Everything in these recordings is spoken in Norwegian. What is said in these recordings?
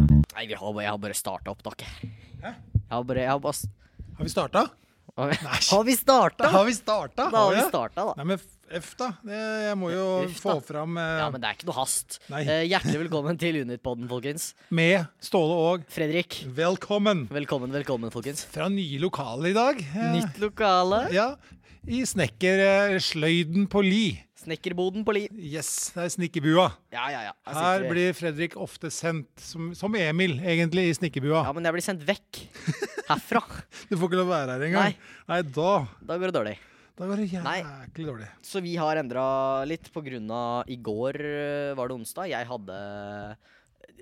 har bare, jeg har bare starta opp, dere. Jeg har bare, jeg har bare s- Har vi starta? Har vi starta? Har vi starta? Da har vi det? starta, da. Nei, men f, da. Det, jeg må jo F, få da. fram eh, Ja, men det er ikke noe hast. Nei. Eh, hjertelig velkommen til Unitpodden, folkens. med Ståle og Fredrik, Velkommen! velkommen, velkommen, folkens. Fra nye lokaler i dag. Eh, Nytt lokale. Ja. I snekkersløyden på Li. Snekkerboden på Li. Yes, det er snekkerbua. Ja, ja, ja. Jeg Her sitter- blir Fredrik ofte sendt, som, som Emil, egentlig, i snekkerbua. Ja, men jeg blir sendt vekk herfra. Du får ikke lov å være her engang. Nei. Nei, da, Da går det dårlig. da går det Nei. jæklig dårlig. Så vi har endra litt på grunn av i går eh, var det onsdag. Jeg hadde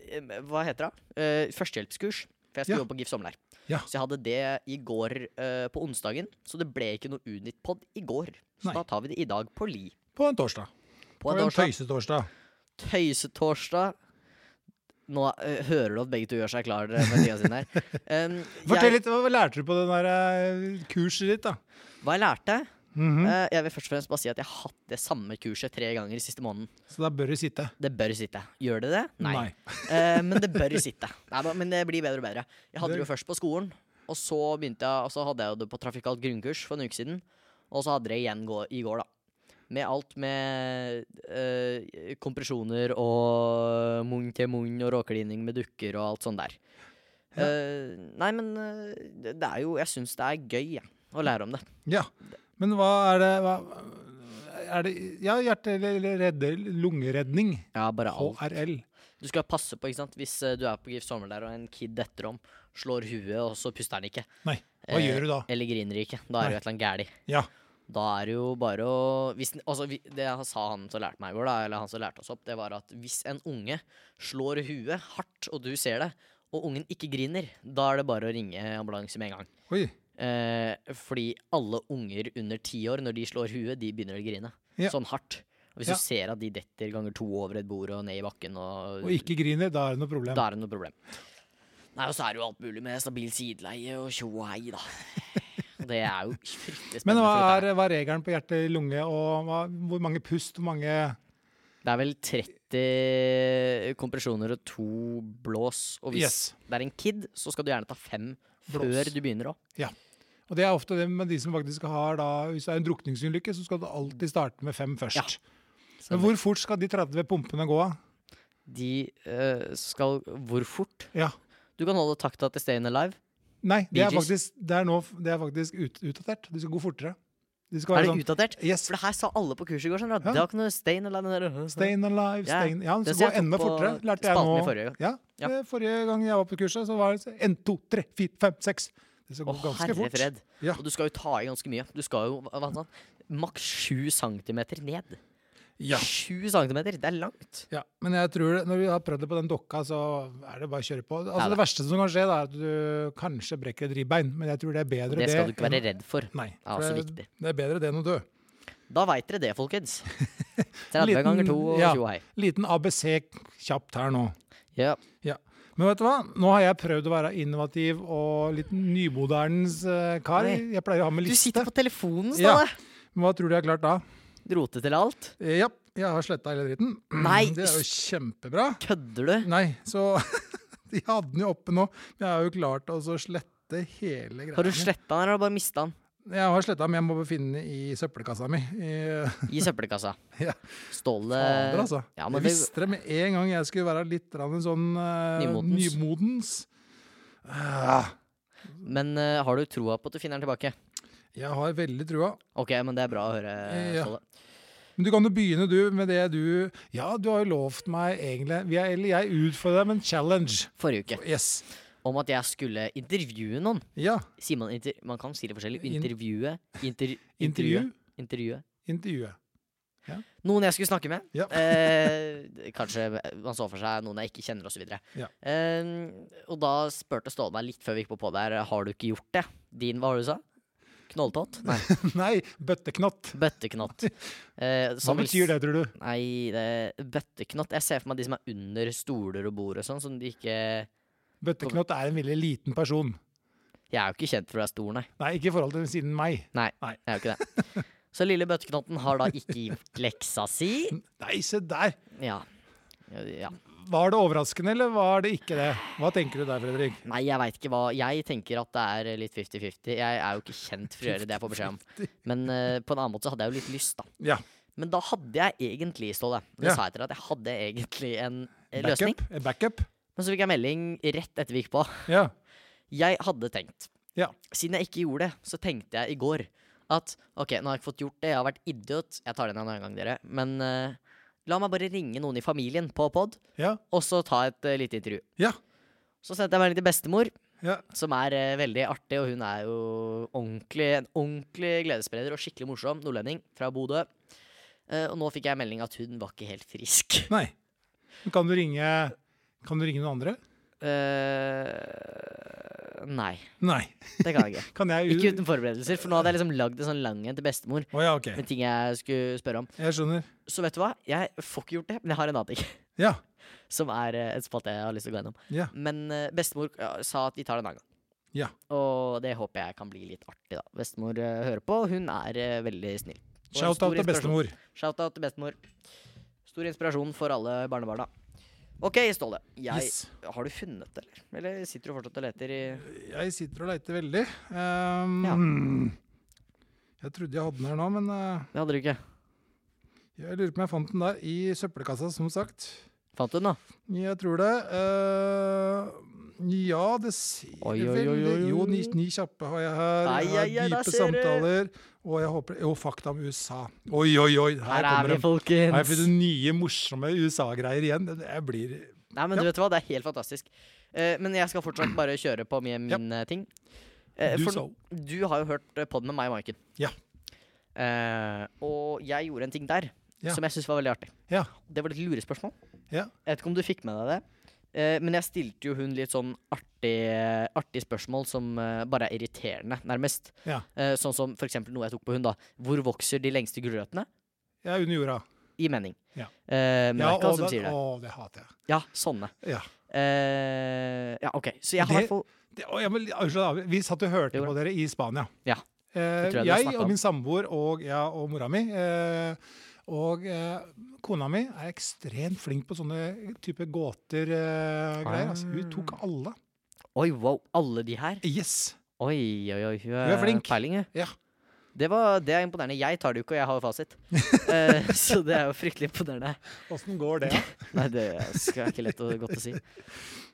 eh, Hva heter det? Eh, Førstehjelpskurs. For jeg skulle Ja. jobbe på GIF sommerleir. Ja. Så jeg hadde det i går eh, på onsdagen. Så det ble ikke noe Unitpod i går. Så Nei. da tar vi det i dag på Li. På en torsdag. På en en torsdag. tøysetorsdag. Tøysetorsdag. Nå eh, hører du at begge to gjør seg klar eh, med tida sin her. Um, Fortell jeg, litt, hva lærte du på det der eh, kurset ditt, da? hva jeg lærte? Mhm. Eh, jeg vil først og fremst bare si at jeg har hatt det samme kurset tre ganger i siste måneden. Så da bør du sitte. Det bør sitte. Gjør det det? Nei. Eh, men det bør sitte. Nei, da, men det blir bedre og bedre. Jeg hadde det jo først på skolen, og så, begynte jeg, og så hadde jeg jo det på trafikalt grunnkurs for en uke siden. Og så hadde jeg det igjen gå, i går, da. Med alt med eh, kompresjoner og munn til munn og råklining med dukker og alt sånt der. Eh, nei, men eh, det det er jo Jeg syns det er gøy jeg, å lære om det. Ja. Men hva er det hva, Er det Ja, hjerte- eller redde- lungeredning. Ja, bare alt. HRL. Du skal passe på, ikke sant? Hvis eh, du er på GIF sommer der og en kid etterom slår huet, og så puster han ikke. Nei, hva Eh, gjør du da? Eller griner ikke. Da er det Nei. jo et eller annet gæli. Ja. Da er det jo bare å hvis, den- altså, vi- Det han sa han som lærte meg i går, da, eller han som lærte oss opp, det var at hvis en unge slår huet hardt, og du ser det, og ungen ikke griner, da er det bare å ringe ambulanse med en gang. Oi. Eh, fordi alle unger under ti år, når de slår huet, de begynner å grine. Ja. Sånn hardt. Og hvis Ja. du ser at de detter ganger to over et bord og ned i bakken og, Og ikke griner, da er det noe problem. da er det noe problem. Nei, Og så er det jo alt mulig med stabil sideleie og tjo og hei, da. Og Det er jo fryktelig Men spennende. hva for er, hva er regelen på hjerte-lunge, og hva, hvor mange pust, hvor dette mange her. Det er vel 30 kompresjoner og to blås. Og hvis Yes. det er en kid, så skal du gjerne ta fem Blås. før du begynner òg. Og det er ofte det med de som faktisk har da Hvis det er en drukningsulykke, så skal du alltid starte med fem først. Men hvor fort skal de 30 pumpene gå? da? De eh, skal Hvor fort? Ja. Du kan holde takta til Stayin' Alive. Nei, det er Bee Gees. faktisk, det er nå, det er faktisk ut, utdatert. De skal gå fortere. De skal Er være det sånn utdatert? Yes. For det her sa alle på kurset i går. Sånn, Ja. Det var ikke noe Stayin' Alive. Den der. Stay in alive, Ja, stay in Ja, den det skal ser gå jeg enda på fortere, lærte jeg spalten nå. i forrige gang. Ja, Ja. det Forrige gang jeg var på kurset, så var det 1, 2, 3, 4, 5, 6. Det skal Å, gå ganske herre fort. fred. Ja. Og du skal jo ta i ganske mye. Du skal jo hva, hva sa han? maks sju centimeter ned. Ja. Sju centimeter, det er langt. ja. Men jeg tror det, når vi har prøvd det på den dokka, så er det bare å kjøre på. Altså, Nei, det verste som kan skje, da, er at du kanskje brekker et ribbein, men jeg tror det er bedre Det skal du ikke enn- være redd for. Nei, er også for viktig. det, det er bedre det enn å dø. Da veit dere det, folkens. 30 Liten- ganger 2 og ja. 20 hei. Liten ABC kjapt her nå. Ja. Men vet du hva? Nå har jeg prøvd å være innovativ og litt nymodernens eh, kar. Oi. Jeg pleier å ha med Du liste. sitter på telefonen, Ja. Ståle. Men hva tror du jeg har klart da? Rote til alt. Eh, Ja, jeg har sletta hele dritten. Nei. Det er jo kjempebra. Kødder du? Nei, så De hadde den jo oppe nå. Men jeg har jo klart å så slette hele greia. Har du sletta den, eller har du bare mista den? Jeg har sletta, men jeg må befinne den i søppelkassa mi. I- I søppelkassa. Ja. Ståle Fader, altså. Eh, Ja, jeg men det, visste det med en gang jeg skulle være litt grann sånn eh, Nymotens. nymodens. Ah, men eh, har du troa på at du finner den tilbake? jeg har veldig trua. OK, men det er bra å høre, Ja. Ståle. Men du kan jo begynne, du, med det du Ja, du har jo lovt meg egentlig vi er, Eller jeg utfordrer deg med en challenge. Forrige uke. Yes. Om at jeg skulle intervjue noen. Ja. Sier man inter... Man kan si det forskjellig. In- Intervjue. Inter... Intervju. Intervjue. Intervjue. Intervjue. Noen jeg skulle snakke med. Ja. eh, kanskje man så for seg noen jeg ikke kjenner, osv. Ja. Eh, og da spurte Ståle meg litt før vi gikk på på der, har du ikke gjort det? Din, hva var det du sa? Knolltott? Nei, Nei, bøtteknott. bøtteknott. Eh, Hva betyr det, tror du? Nei, det, bøtteknott Jeg ser for meg de som er under stoler og bord og sånn, som de ikke Bøtteknott er en veldig liten person. Jeg er jo ikke kjent for å være stor, nei. Nei, ikke i forhold til siden meg. Nei, Nei. jeg er jo ikke det. Så lille bøtteknotten har da ikke gjort leksa si. Nei, se der! Ja. ja. Var det overraskende, eller var det ikke det? Hva tenker du der, Fredrik? Nei, jeg veit ikke hva Jeg tenker at det er litt 50-50. Jeg er jo ikke kjent for å gjøre det jeg får beskjed om. Men eh, på en annen måte så hadde jeg jo litt lyst, da. Ja. Men da hadde jeg egentlig, Ståle Det Ja. sa jeg til deg, at jeg hadde egentlig en eh, løsning. Backup? Eh, Backup? Men så fikk jeg melding rett etter vi gikk på. Ja. Jeg hadde tenkt. Ja. Siden jeg ikke gjorde det, så tenkte jeg i går at OK, nå har jeg ikke fått gjort det, jeg har vært idiot. Jeg tar den en annen gang, dere. Men eh, la meg bare ringe noen i familien på pod, Ja. og så ta et eh, lite intervju. Ja. Så sendte jeg melding til bestemor, Ja. som er eh, veldig artig, og hun er jo ordentlig, en ordentlig gledesspreder og skikkelig morsom nordlending fra Bodø. Eh, og nå fikk jeg melding at hun var ikke helt frisk. Nei. Men Kan du ringe Kan du ringe noen andre? Eh, nei, Nei. det kan jeg ikke. Kan jeg Ikke uten forberedelser, for nå hadde jeg liksom lagd en sånn lang en til bestemor Å ja, OK. med ting jeg skulle spørre om. Jeg skjønner. Så vet du hva? Jeg får ikke gjort det, men jeg har en annen ting. Ja. Som er eh, et spalte jeg har lyst til å gå gjennom. Ja. Men eh, bestemor ja, sa at vi tar det en annen gang. Ja. Og det håper jeg kan bli litt artig, da. Bestemor eh, hører på, og hun er eh, veldig snill. Og en stor Shout-out til inspirasjon. bestemor. Shout-out til bestemor. Stor inspirasjon for alle barnebarna. OK, Ståle. Jeg, Yes. Har du funnet det, eller? Eller sitter du fortsatt og leter i Jeg sitter og leiter veldig. Ehm, Jeg trodde jeg hadde den her nå, men eh, Det hadde du ikke. jeg lurer på om jeg fant den der i søppelkassa, som sagt. Fant du den, da? Jeg tror det. Eh, ja, det ser Oi, oi, veldig oi, oi, oi. Jo, ni, ni kjappe har jeg her. Ai, Jeg har ai, ai, der ser dype du. samtaler. Og jeg håper Jo, fakta om USA. Oi, oi, oi, her, Her er kommer vi, de. Her folkens! får du nye, morsomme USA-greier igjen. Det- Jeg blir Nei, men du vet hva, det er helt fantastisk. Eh, men jeg skal fortsatt bare kjøre på med min eh, ting. Eh, Du for så. du har jo hørt pod med meg og Maiken. Ja. Eh, og jeg gjorde en ting der Ja. som jeg syntes var veldig artig. Ja. Det var et lurespørsmål. Ja. Jeg vet ikke om du fikk med deg det. Eh, men jeg stilte jo hun litt sånn artig, artig spørsmål som eh, bare er irriterende, nærmest. Ja. Eh, sånn som for eksempel noe jeg tok på hun, da. Hvor vokser de lengste gulrøttene? Jeg er under jorda. I mening. Ja. Eh, men det er ikke alle og som det, sier det. å, det hater jeg. Ja, sånne. Ja. Eh, ja, OK. Så jeg har i Det- hvert fall Det, å, jeg må, unnskyld, da. vi satt og hørte Jo. på dere i Spania. Ja. Eh, Det tror jeg du har jeg snakket og om. min samboer og, ja, og mora mi eh, og eh, kona mi er ekstremt flink på sånne type gåter. Eh, Ah, greier. Altså, hun tok alle. Oi, wow. Alle de her? Yes! Oi, oi, oi. Hun er flink. Peiling, hun. Ja. Det, var, det er imponerende. Jeg tar det jo ikke, og jeg har jo fasit. Eh, så det er jo fryktelig imponerende. Åssen går det? Nei, det skal jeg ikke lett og godt å si.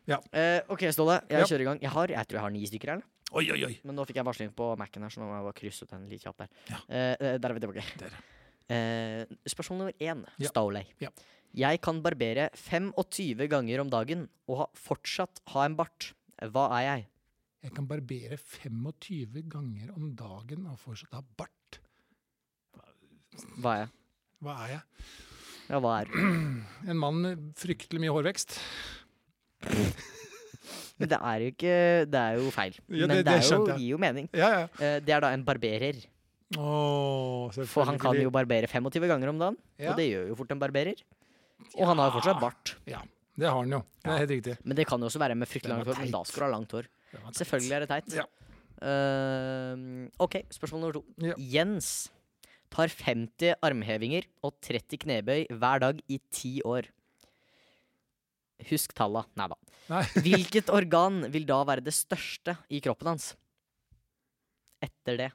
Ja. Eh, OK, Ståle. Jeg Ja. kjører i gang. Jeg, har, jeg tror jeg har ni stykker her. nå. Oi, oi, oi. Men nå fikk jeg varsling på Mac-en her, så nå må jeg bare krysse ut den litt kjapt der. Eh, eh, der er vi tilbake. Der. Eh, spørsmål nummer én, Ja. Stowley. Ja. Jeg kan barbere 25 ganger om dagen og ha, fortsatt ha en bart. Hva er jeg? Jeg kan barbere 25 ganger om dagen og fortsatt ha bart. Hva er jeg? Hva er jeg? Ja, hva er du? En mann med fryktelig mye hårvekst. Men det er jo ikke Det er jo feil. Ja, Men det- det, det er jo, skjønte jeg. gir jo mening. Ja, ja. Eh, det er da en barberer. Åh, For han kan selvfølgelig. jo barbere 25 ganger om dagen, Ja. og det gjør jo fort en barberer. Og han har jo fortsatt bart. Ja, det har han jo. Det er helt riktig. Men det kan jo også være med Den fryktelig var langt hår. Men teit. da skal du ha langt hår. Det var teit. Selvfølgelig er det teit. Ja. Ehm, OK, spørsmål nummer to. Ja. Jens tar 50 armhevinger og 30 knebøy hver dag i ti år. Husk talla. Nei da. Nei. Hvilket organ vil da være det største i kroppen hans? Etter det.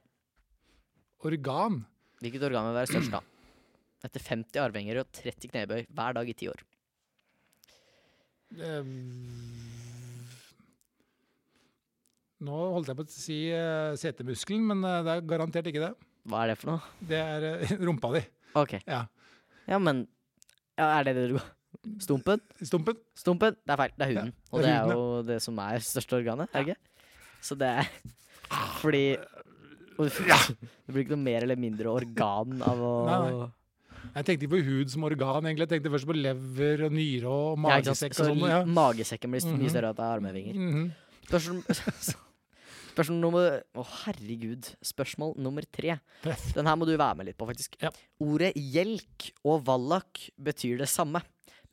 Organ. Hvilket organ vil være størst da? Etter 50 armhevinger og 30 knebøy hver dag i ti år. Eh, Nå holdt jeg på å si eh, setemuskelen, men eh, det er garantert ikke det. Hva er det for noe? Det er eh, rumpa di. OK. Ja. Ja, men ja, Er det det du Stumpen? Stumpen. Stumpen? Det er feil. Det er huden. Ja, det er og det huden, er jo det som er største organet, er det ikke? Så det er fordi og du- Det blir ikke noe mer eller mindre organ av å Nei, Jeg tenkte ikke på hud som organ, egentlig. Jeg tenkte først på lever og nyre og Ja, ikke sant? magesekk og Så sånn. li- Ja. magesekken blir st- Mhm. mye større at det er armhevinger. Mhm. Spørsmål, spørsmål nummer Å, herregud. Spørsmål nummer tre. Den her må du være med litt på, faktisk. Ja. Ordet hjelk og vallak betyr det samme,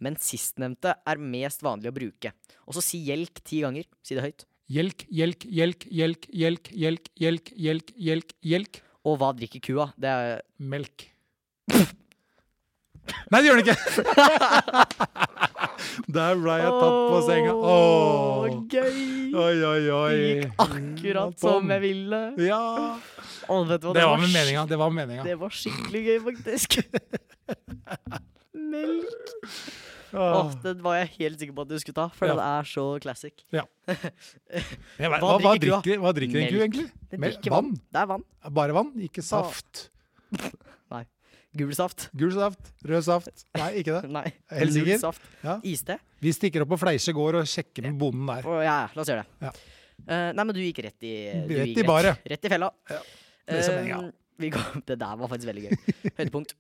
men sistnevnte er mest vanlig å bruke. Og så si hjelk ti ganger. Si det høyt. Hjelk, hjelk, hjelk, hjelk, hjelk, hjelk, hjelk, hjelk, hjelk, hjelk. Og hva drikker kua? Det er Melk. Nei, det gjør den ikke! Der ble jeg tatt på senga. Åh, Åh. Gøy! Oi, oi, oi. Det gikk akkurat som jeg ville. Ja. Åh, vet du hva, Det var med sk- meninga. Det var med meninga. Det var skikkelig gøy, faktisk. Melk. Åh, Åh. den var jeg helt sikker på at du skulle ta, for Ja. det er så classic. Jeg vet- Hva Hva, hva, drikker du, da? drikker, hva drikker en ku, Melk. egentlig? Den Mel- drikker vann? Det er vann. Bare vann, ikke saft. Gul saft. Gul saft, rød saft. Nei, ikke det. Nei. Helt null sikker? saft. Ja. Iste. Vi stikker opp på Fleisje gård og sjekker med bonden der. Å, ja, la oss gjøre det. Ja. Eh, nei, men du gikk rett i du Rett gikk i baret. Rett, rett i fella. Ja, det er som Eh, meningen. vi går, det der var faktisk veldig gøy. Høydepunkt.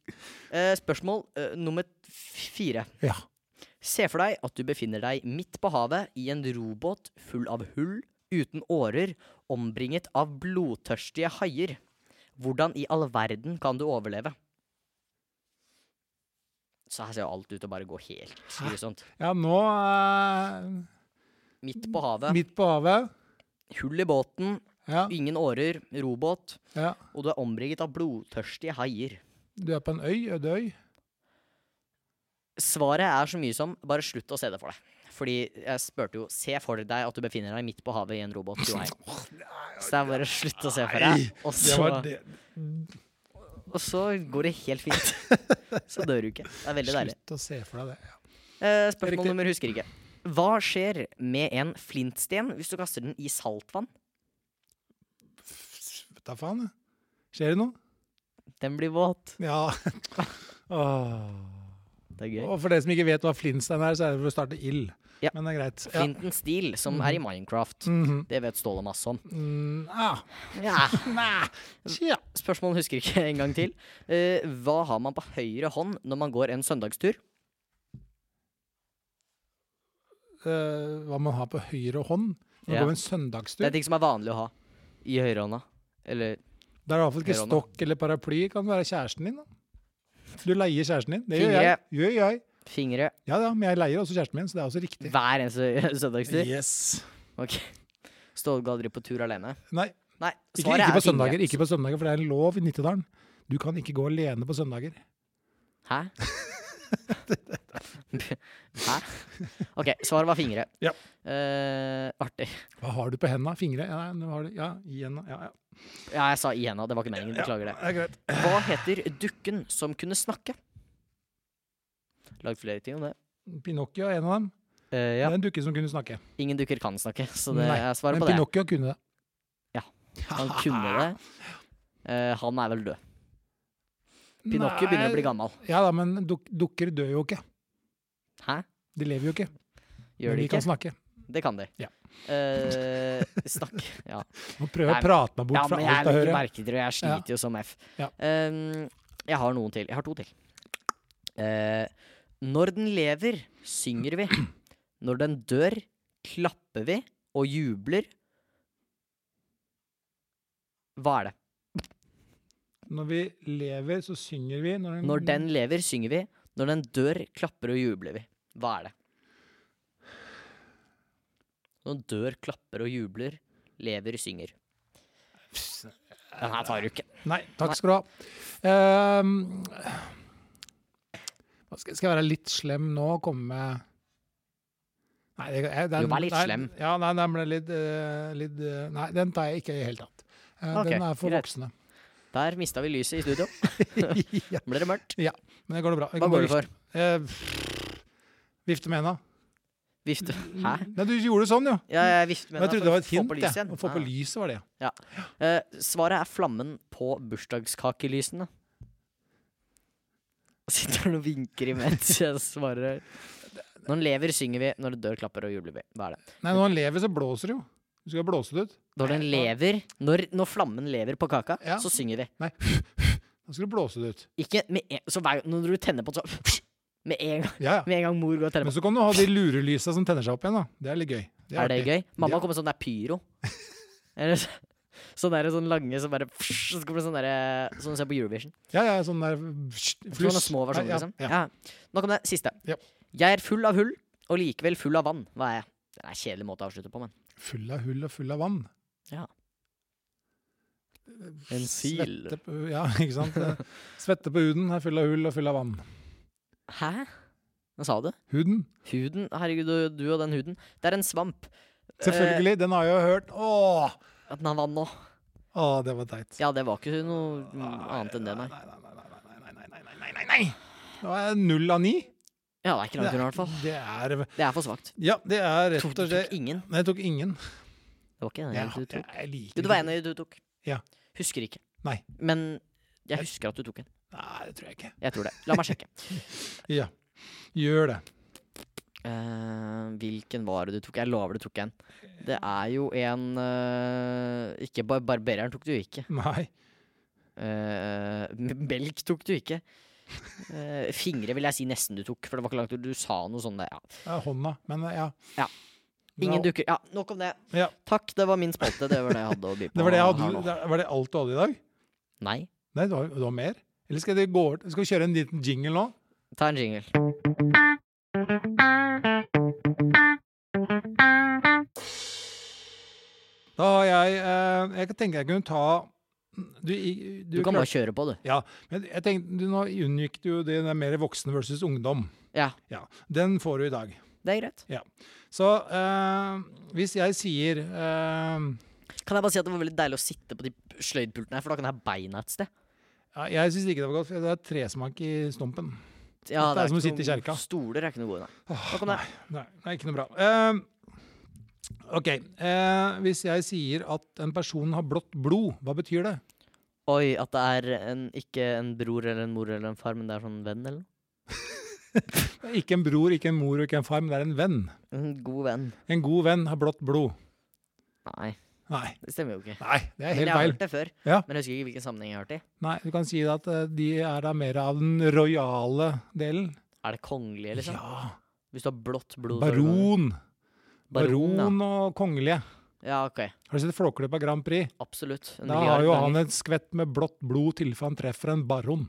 Eh, spørsmål eh, nummer fire. Ja. Se for deg at du befinner deg midt på havet i en robåt full av hull, uten årer, ombringet av blodtørstige haier. Hvordan i all verden kan du overleve? Så her ser jo alt ut til å bare gå helt grusomt. ja, nå eh, Midt på havet, Midt på havet. hull i båten, Ja, ingen årer, robåt, ja. og du er omringet av blodtørstige haier. Du er på en øy, øde øy. Svaret er så mye som bare slutt å se det for deg. Fordi jeg spurte jo Se for deg at du befinner deg midt på havet i en robåt. Jo, hei. Så det er bare slutt å se for deg. Og Det så, var det. og så går det helt fint. Så dør du ikke. Det er veldig deilig. Slutt å se for deg det. Ja. Eh, Riktig. spørsmål nummer husker ikke. Hva skjer med en flintsten hvis du kaster den i saltvann? Vet da faen. jeg. Skjer det noe? Den blir våt. Ja. Åh. Det er gøy. Og for dere som ikke vet hva flintstein er, så er det for å starte ild. Ja. Men det er greit. Ja. Mm. Flintens stil, som er i Minecraft. Mhm. Det vet Ståle masse om. Mm, ah. Ja. Nei. Tja. Spørsmålet husker jeg ikke en gang til. Eh, hva har man på høyre hånd når man går en søndagstur? Eh, hva man har på høyre hånd. Nå Ja. går vi en Det søndagstur. er ting som er vanlig å ha i høyrehånda. Eller Da er det iallfall ikke Høyrehånda. stokk eller paraply. Kan være kjæresten din, da. Du leier kjæresten din. Det gjør Fingre. jeg. Gjør jeg. fingre. Ja, ja, men jeg leier også kjæresten min, så det er også riktig. Hver eneste søndagstur. Yes. Ok. Ståle går aldri på tur alene. Nei, Nei, ikke, svaret ikke på er fingre. søndager, ikke på søndager, for det er en lov i Nittedalen. Du kan ikke gå alene på søndager. Hæ? Hæ? Ok, svaret var fingre. Ja. Eh, artig. Hva har du på henda? Fingre? Ja, nei, nå har du, ja, i henda. Ja, ja. Ja, jeg sa i henda. Det var ikke meningen. Beklager det. Ja, er greit. Hva heter dukken som kunne snakke? Lagd flere ting om det. Pinocchio er en av dem. Eh, Det ja. er en dukke som kunne snakke. Ingen dukker kan snakke, så det Nei, er svaret Men på det. Pinocchio kunne det. Han kunne det. Eh, han er vel død. Pinocchio begynner å bli gammel. Ja da, men duk dukker dør jo ikke. Hæ? De lever jo ikke. Gjør men de de kan ikke? snakke. Det kan de. Ja. Eh, snakk. Ja. Nå prøver jeg Nei, å prate meg bort ja, fra men jeg alt er jeg veldig hører. merkedrøy. Jeg sliter jo som F. Ja. Eh, jeg har noen til. Jeg har to til. Eh, når den lever, synger vi. Når den dør, klapper vi og jubler. Hva er det? Når vi lever, så synger vi. Når, Når den lever, synger vi. Når den dør, klapper og jubler vi. Hva er det? Når den dør, klapper og jubler, lever, synger. Den her tar du ikke. Nei, takk Nei. skal du ha. Ehm, hva skal, skal jeg være litt slem nå og komme med Nei, det, jeg, den, Jo, vær litt nei, slem. Ja, nei, den ble litt, eh, litt eh, Nei, den tar jeg ikke i det hele tatt. Eh, Ok, den er for greit. voksne. Der mista vi lyset i studio. ja, Ble det mørkt? men det går det bra. Eh, Hva går du for? vifte med henda. Vifte? Hæ? Nei, du gjorde sånn, jo. Ja, jeg vifter med jeg henda trodde for det var å et få hint. på lyset jeg. igjen. Å få på Ah. lyset var det, ja. Eh, svaret er flammen på bursdagskakelysene. Sitter han og vinker imens jeg svarer. Når den lever, synger vi. Når den dør, klapper og jubler vi. Hva er det? Nei, når han lever, så blåser det jo. Du skal blåse det ut. Når den lever Når, når flammen lever på kaka, Ja. så synger vi. Da skal du blåse det ut. Ikke med en, så hver, gang- Når du tenner på den, så med en, gang, Ja, ja. med en gang mor går og tenner Men på så kan du ha de lurelysa som tenner seg opp igjen, da. Det er litt gøy. Det Er det artig. gøy? Mamma Ja. kommer sånn der pyro. Eller så- sånn der, sånn lange som bare Så kommer det sånn der Sånn du ser på Eurovision. Ja, ja, sånn der Sånne små versjoner, Ja, ja, liksom. ja. Ja. Nok om det. Siste. Ja. Jeg er full av hull, og likevel full av vann. Hva er jeg? Det er en kjedelig måte å avslutte på, men Full av hull og full av vann. Ja. En sil. Svette på, ja, ikke sant. Svette på huden er full av hull og full av vann. Hæ? Hva sa du? Huden. Huden? Herregud, du, du og den huden. Det er en svamp. Eh. Selvfølgelig. Den har jeg jo hørt. Åh, At den har vann nå. Åh det var teit. Ja, det var ikke noe Mm, Ah, annet enn det, nei. Nei, nei, nei, nei, nei, nei, nei, nei, nei, nei. Det var null av ni. Ja, det er ikke langt unna, i hvert fall. Det er Det er for svakt. Ja, det er Du rett og tok slett ingen. Nei, jeg tok ingen. Det var ikke den Jeg, du tok. jeg, jeg liker Du, det var en du tok. Ja. Husker ikke. Nei. Men jeg husker at du tok en. Nei, det tror jeg ikke. Jeg tror det. La meg sjekke. Ja. Gjør det. Eh, hvilken var det du tok? Jeg lover du tok en. Det er jo en eh, Ikke bar barbereren tok du ikke. Nei. Eh, m- belk tok du ikke. Eh, fingre vil jeg si nesten du tok, for det var ikke langt ut. Du sa noe sånn der, ja. Det er hånda. Men ja. Ja. Ingen Det var- dukker. Ja, nok om det. Ja. Takk, det var min spalte. Det var det jeg hadde å by på. Det var det jeg her hadde. nå. Det var det alt du hadde i dag? Nei. Nei, du har, du har mer? Eller skal, det gå, over- skal vi kjøre en liten jingle nå? Ta en jingle. Da har jeg eh, Jeg kan tenke jeg kunne ta Du, i- Du kan bare kjøre på, du. Men jeg tenkte, du, Nå unngikk du jo det der mer voksne versus ungdom. Ja, Ja, Den får du i dag. det er greit. Så eh, hvis jeg sier eh, Kan jeg bare si at det var veldig deilig å sitte på de sløydpultene her, for da kan jeg ha beina et sted. ja, Jeg syns ikke det var godt, for det er tresmak i stumpen. Ja, Dette er som å ikke sitte i noe- kjerka. Stoler er ikke noe gode, nei. Åh, Nå kom det. Nei, nei, ikke noe bra. Eh, OK. eh, hvis jeg sier at en person har blått blod, hva betyr det? Oi, at det er en, ikke en bror eller en mor eller en far, men det er sånn venn eller noe. Ikke en bror, ikke en mor og ikke en far, men det er en venn. En god venn. En god venn har blått blod. Nei, Nei, det stemmer jo ikke. nei det er Men jeg helt har feil. hørt det før. Ja. Men jeg husker ikke hvilken sammenheng jeg har hørt det i. Nei, Du kan si det at eh, de er da mer av den rojale delen. Er det kongelige, liksom? Ja. Hvis du har blått blod så er det kongelige. Baron. Baron, ja. Baron og kongelige. Ja, ok. Har du sett Flåklypa Grand Prix? Absolutt. En Da milliard har jo ganger. han et skvett med blått blod tilfelle han treffer en baron.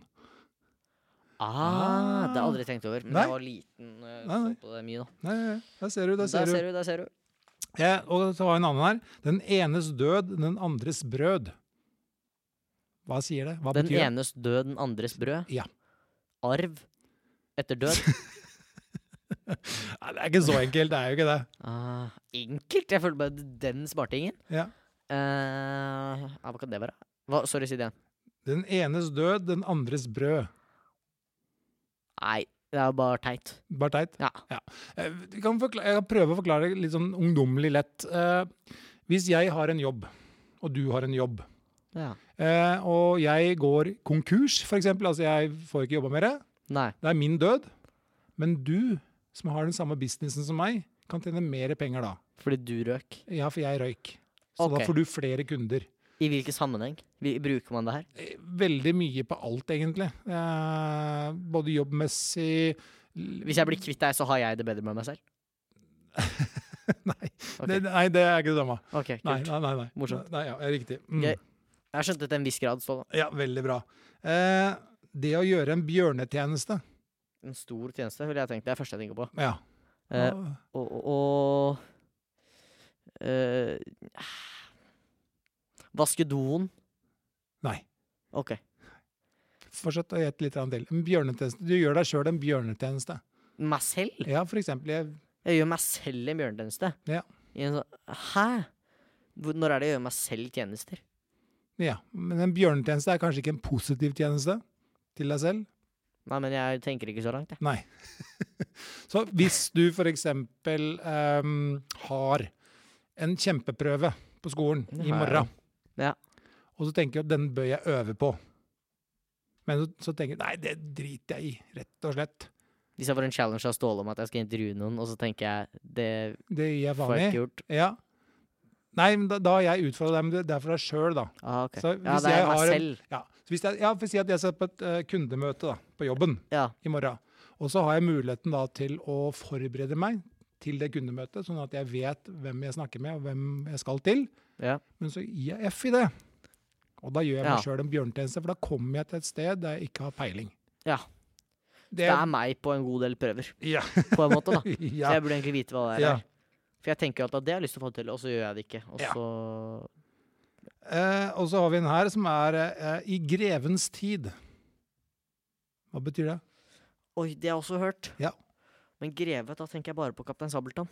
Ah, det har jeg aldri tenkt over. Men Nei. jeg var liten. eh, Nei, nei. så på det mye, da. Nei, nei, nei, Der ser du, der ser der du. ser du, der ser du. Ja, og så har jeg en annen her. Den enes død, den andres brød. Hva sier det? Hva Den betyr det? enes død, den andres brød. Ja. Arv etter død. Nei, det er ikke så enkelt, det er jo ikke det. Ah, enkelt! Jeg føler bare den smartingen. Ja. Eh, ja, hva kan det være? Hva, sorry, si det igjen. Den enes død, den andres brød. Nei, det er jo bare teit. Bare teit. Ja. Eh, vi kan forkla- Jeg kan prøve å forklare det litt sånn ungdommelig lett. Eh, Hvis jeg har en jobb, og du har en jobb, ja. eh, og jeg går konkurs, for eksempel, altså jeg får ikke jobba mer, Nei. det er min død, men du, som har den samme businessen som meg, kan tjene mer penger da. Fordi du røk. Ja, for jeg røyk. Så Ok. da får du flere kunder. I hvilken sammenheng vi, bruker man det her? Eh, Veldig mye på alt, egentlig. Eh, både jobbmessig l- Hvis jeg blir kvitt deg, så har jeg det bedre med meg selv? Nei, Ok. det, nei, det er ikke det samme. Ok, kult. Nei, nei, nei. nei. Morsomt. Nei, ja, riktig. Mm. Gøy. Jeg har skjønt det til en viss grad. Ståle. Ja, veldig bra. Eh, det å gjøre en bjørnetjeneste En stor tjeneste, ville jeg tenkt. Det er det første jeg tenker på. Ja. Eh, Ja. og og eh, Vaske doen. Nei. Ok. Fortsett å gjette litt grann til. En bjørnetjeneste. Du gjør deg sjøl en bjørnetjeneste. Meg selv? Ja, for eksempel. Jeg, Jeg gjør meg selv en bjørnetjeneste. Ja. I en sånn- Hæ? Hvor- Når er det jeg gjør meg selv tjenester? ja. Men en bjørnetjeneste er kanskje ikke en positiv tjeneste til deg selv? Nei, men jeg tenker ikke så langt, jeg. Nei. Så hvis du for eksempel ehm, har en kjempeprøve på skolen Det i har jeg. morgen, Ja. og så tenker du at den bør jeg øve på, men så, så tenker du nei, det driter jeg i, rett og slett. Hvis jeg får en challenge av Ståle om at jeg skal intervjue noen, og så tenker jeg det Det gir jeg får faen jeg ikke i. gjort. Ja. Nei, men da, da har jeg utfordra deg, men det det er for deg sjøl, da. Ah, ok. Så Ja, hvis det jeg er meg har en- selv. Ja, så hvis jeg, ja for å si at jeg skal på et eh, kundemøte da, på jobben Ja. i morgen, og så har jeg muligheten da til å forberede meg til det kundemøtet, sånn at jeg vet hvem jeg snakker med og hvem jeg skal til, ja. men så gir jeg F i det. Og da gjør jeg meg Ja. selv sjøl en bjørnetjeneste, for da kommer jeg til et sted der jeg ikke har peiling. Ja. Det, Det er meg på en god del prøver, ja. på en måte, da. ja. Så jeg burde egentlig vite hva det er. Ja. her. For jeg tenker jo alltid at det har jeg lyst til å få til, og så gjør jeg det ikke. Og Ja. så Eh, og så har vi en her som er eh, i grevens tid. Hva betyr det? Oi, det har jeg også hørt. Ja. Men greve, da tenker jeg bare på Kaptein Sabeltann.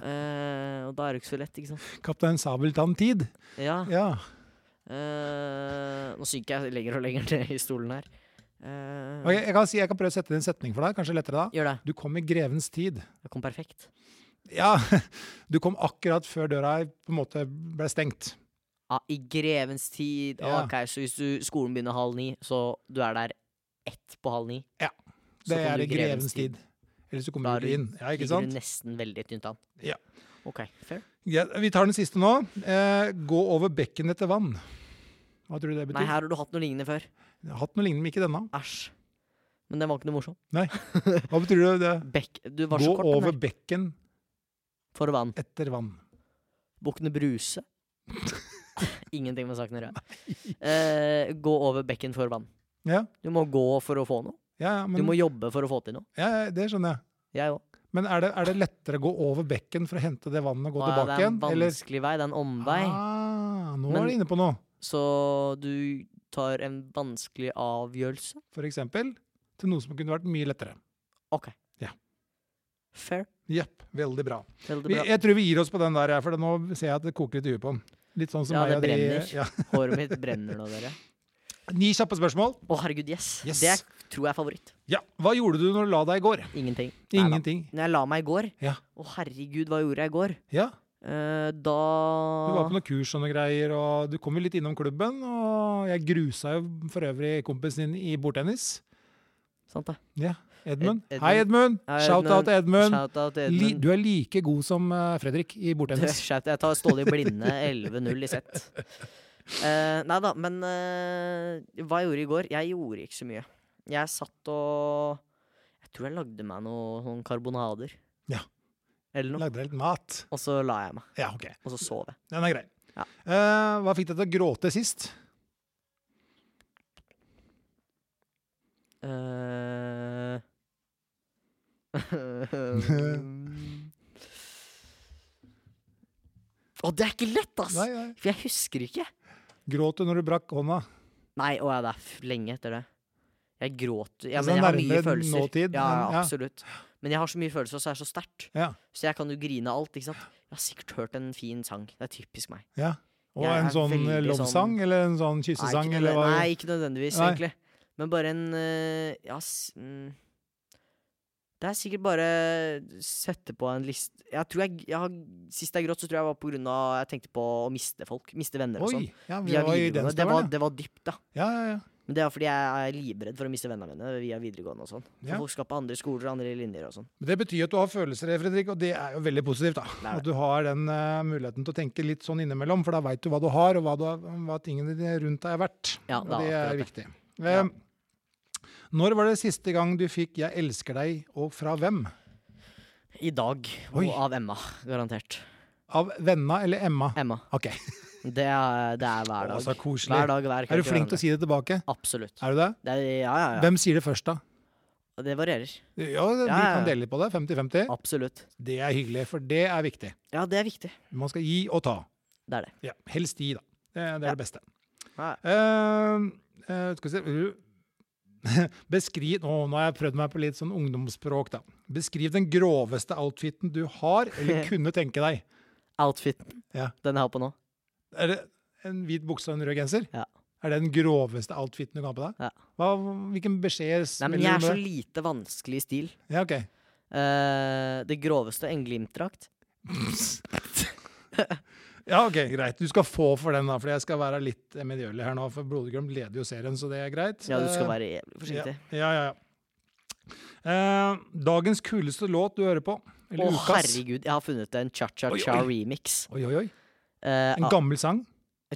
Eh, og da er det ikke så lett, ikke sant? Kaptein Sabeltann-tid. Ja. Ja. eh, nå synker jeg lenger og lenger ned i stolen her. Eh, Ok, jeg, kan si, jeg kan prøve å sette inn en setning for deg, kanskje lettere da. Gjør det. Du kom i grevens tid. Jeg kom perfekt. Ja, du kom akkurat før døra på en måte ble stengt. Ah, I grevens tid. Ah, Ja. Ok, så hvis du, skolen begynner halv ni, så du er der ett på halv ni? Ja. Så Det kom er du i grevens tid. Ellers så Da kommer du ikke inn. Ja, ikke ligger sant? du nesten veldig tynt an. Ja. Ok, fair. Ja, vi tar den siste nå. Eh, gå over bekken etter vann. Hva tror du det Nei, betyr? her har du hatt noe lignende før. Jeg har Hatt noe lignende, men ikke denne. Æsj. Men den var ikke noe morsom. Nei. Hva betyr det? det? Bekk, du var Gå så kort over den her. bekken For vann. etter vann. Bukkene Bruse. Ingenting med saken å gjøre. Eh, gå over bekken for vann. Ja, Du må gå for å få noe. ja, ja, Du men, må jobbe for å få til noe. ja, ja, det skjønner jeg. Jeg òg. Men er det, er det lettere å gå over bekken for å hente det vannet og gå Det tilbake er en igjen? Eller? vanskelig vei. Det er en omvei. Ah, nå Men- er du inne på noe. Så du tar en vanskelig avgjørelse. For eksempel til noe som kunne vært mye lettere. OK. Ja. Fair. Jepp, veldig bra. Veldig Vi, bra. jeg tror vi gir oss på den der, jeg, for det- nå ser jeg at det koker litt i huet på den. Litt sånn som Ja, meg det og de- brenner. Ja. Håret mitt brenner nå, dere. Ni kjappe spørsmål. Å, herregud, yes. Yes. Det er- tror jeg er favoritt. Ja, Hva gjorde du når du la deg i går? Ingenting. Neida. Ingenting. Når jeg la meg i går Ja. Å, herregud, hva gjorde jeg i går? Ja, Eh, da Du Ah. var på noen kurs og noen greier, og du kom jo litt innom klubben. Og jeg grusa jo for øvrig kompisen din i bordtennis. Sant det. Ja, Edmund. Ed- Edmund. Hei, Edmund! Hei, Shout-out til Edmund! Shout-out til Li, Edmund. du er like god som eh, Fredrik i bordtennis. Shout jeg tar Ståle i blinde 11-0 i sett. Uh, nei da, men eh, hva jeg gjorde i går? Jeg gjorde ikke så mye. Jeg satt og Jeg tror jeg lagde meg noe sånn karbonader. Ja. Eller noe. Lagde deg litt mat. Og så la jeg meg. Ja, ok. Og så sov jeg. Den er grei. Ja. Eh, hva fikk deg til å gråte sist? Eh. Å, det er ikke lett, ass! Nei, nei. For jeg husker ikke. Gråt du når du brakk hånda? Nei, og det er f- lenge etter det. Jeg gråter. Ja, Altså, men det jeg er har mye nærmere følelser. nåtid, ja, men- ja, ja. absolutt. Men jeg har så mye følelser, og så er det så sterkt. Ja. Så jeg kan jo grine av alt. ikke sant? Jeg har sikkert hørt en fin sang. Det er typisk meg. ja. Og Jeg en er sånn eh, veldig lovsang, sånn- eller en sånn Nei, kyssesang, ikke, eller nødvendig- hva? nei, ikke nødvendigvis, Nei. egentlig. Men bare en øh, Ja, s- mm. Det er sikkert bare sette på en liste Jeg tror jeg, jeg har, Sist jeg gråt, så tror jeg var på grunn av Jeg tenkte på å miste folk. Miste venner og Oi, sånn. ja, vi Via var i den videregående. Det var, staveren, ja. det var dypt, da. Ja, ja, ja. Men det er fordi jeg er livredd for å miste vennene mine via videregående og sånn. For Ja. folk skal på andre skoler og andre linjer og sånn. Men Det betyr at du har følelser, eh, Fredrik, og det er jo veldig positivt. da. er det. At du har den eh, muligheten til å tenke litt sånn innimellom, for da veit du hva du har, og hva, du har, hva tingene dine rundt deg er verdt. Ja, og det er det er akkurat viktig. Eh, Når var det siste gang du fikk 'Jeg elsker deg', og fra hvem? I dag. Oi. Og av Emma, garantert. Av venna eller Emma? Emma. Ok, Det er, det er hver Å, dag. så koselig. Hver dag, hver Er du flink til å si det tilbake? Absolutt. Er du det? Det er, ja, ja, ja. Hvem sier det først, da? Det varierer. Ja, Vi ja, ja. kan dele litt på det. 50-50. Absolutt. Det er hyggelig, for det er viktig. Ja, det er viktig. Man skal gi og ta. Det er det. Ja, helst gi, da. Det, det er Ja. det beste. Ja. Eh, eh, skal vi se Uh, Beskriv Å, nå har jeg prøvd meg på litt sånn ungdomsspråk, da. Beskriv den groveste outfiten du har eller kunne tenke deg. Outfiten. Ja. Den jeg har på nå. Er det en hvit bukse og en rød genser? Ja. Er det den groveste outfiten du kan ha på deg? Ja. Hva, hvilken beskjed Nei, men jeg er så lite vanskelig i stil. Ja, ok. Eh, det groveste, en Glimt-drakt. Ja, ok, greit. Du skal få for den, da, for jeg skal være litt eh, medgjørlig her nå. For Brodergrom leder jo serien, så det er greit. Ja, du skal Eh, være jævlig forsiktig. Ja, ja, ja. Eh, dagens kuleste låt du hører på? Å, Eller ukas? herregud, jeg har funnet en cha-cha-cha Oi, oi. remix. Oi, oi, oi. Eh, En av- gammel sang?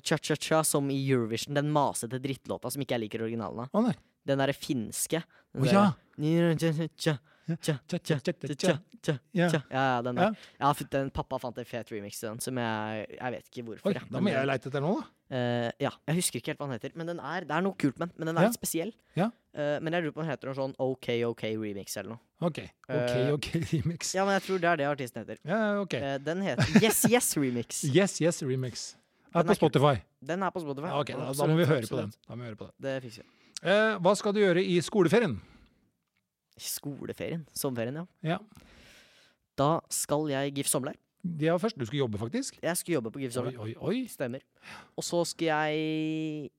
Cha-cha-cha som i Eurovision, den masete drittlåta som ikke jeg liker originalen av. Å nei. Den derre finske. Den Å derre- ja. Ni- cha- cha- cha- Tja, tja, tja, tja, tja. cha- cha- Ja. cha. Ja, ja, den Ja. der. Jeg har funnet en, pappa fant en fet remix til den, som jeg Jeg vet ikke hvorfor. Oi, jeg, da men må den- jeg leite etter noe, da. eh, ja, jeg husker ikke helt hva den heter, men den er, det er noe kult med den. Men den er Ja. litt spesiell. Ja. Eh, men jeg lurer på om den heter noe sånn OK OK remix eller noe. Ok, ok, Eh, ok, remix. Ja, men jeg tror det er det artisten heter. Ja, ok. Eh, den heter Yes Yes Remix. Yes, yes, remix. Er Den på er kul. Spotify. Den er på Spotify. Ja, ok, da, da må Absolutt, vi høre på absolutt. den. Da må vi høre på den. Det fikser vi. Eh, hva skal du gjøre i skoleferien? Skoleferien. Sommerferien, ja. Ja. Da skal jeg GIF sommerleir. Det var først. Du skulle jobbe, faktisk. Jeg skal jobbe på GIF Oi, sommerleir. oi, oi. Stemmer. Og så skal jeg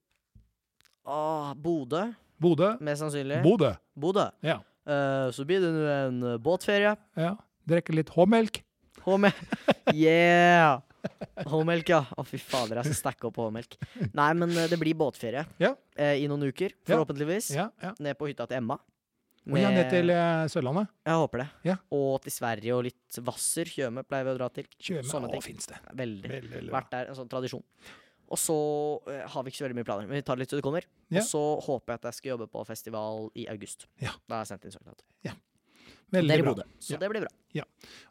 Åh, Bodø, Bodø. mest sannsynlig. Bodø. Bodø. Ja. Eh, så blir det nå en eh, båtferie. ja. Drikke litt H-melk. H-melk. Yeah! H-melk, ja. Å, fy fader, jeg skal stacke opp H-melk. Nei, men eh, det blir båtferie Ja. eh, i noen uker, Ja. forhåpentligvis. Ja, ja. Ned på hytta til Emma. Og ja, ned Med- til eh, Sørlandet. Jeg håper det. Ja. Og til Sverige og litt Hvasser, Tjøme, pleier vi å dra til. Tjøme. Sånne ting. Å, fins det. Veldig. Veldig, veldig bra. Vært der, en sånn tradisjon. Og så eh, har vi ikke så veldig mye planer, men vi tar det litt til det kommer. Ja. Og så håper jeg at jeg skal jobbe på festival i august. Ja. Da har jeg sendt inn søknad. Veldig Dere i bra. Bodø. Så Ja. det blir bra.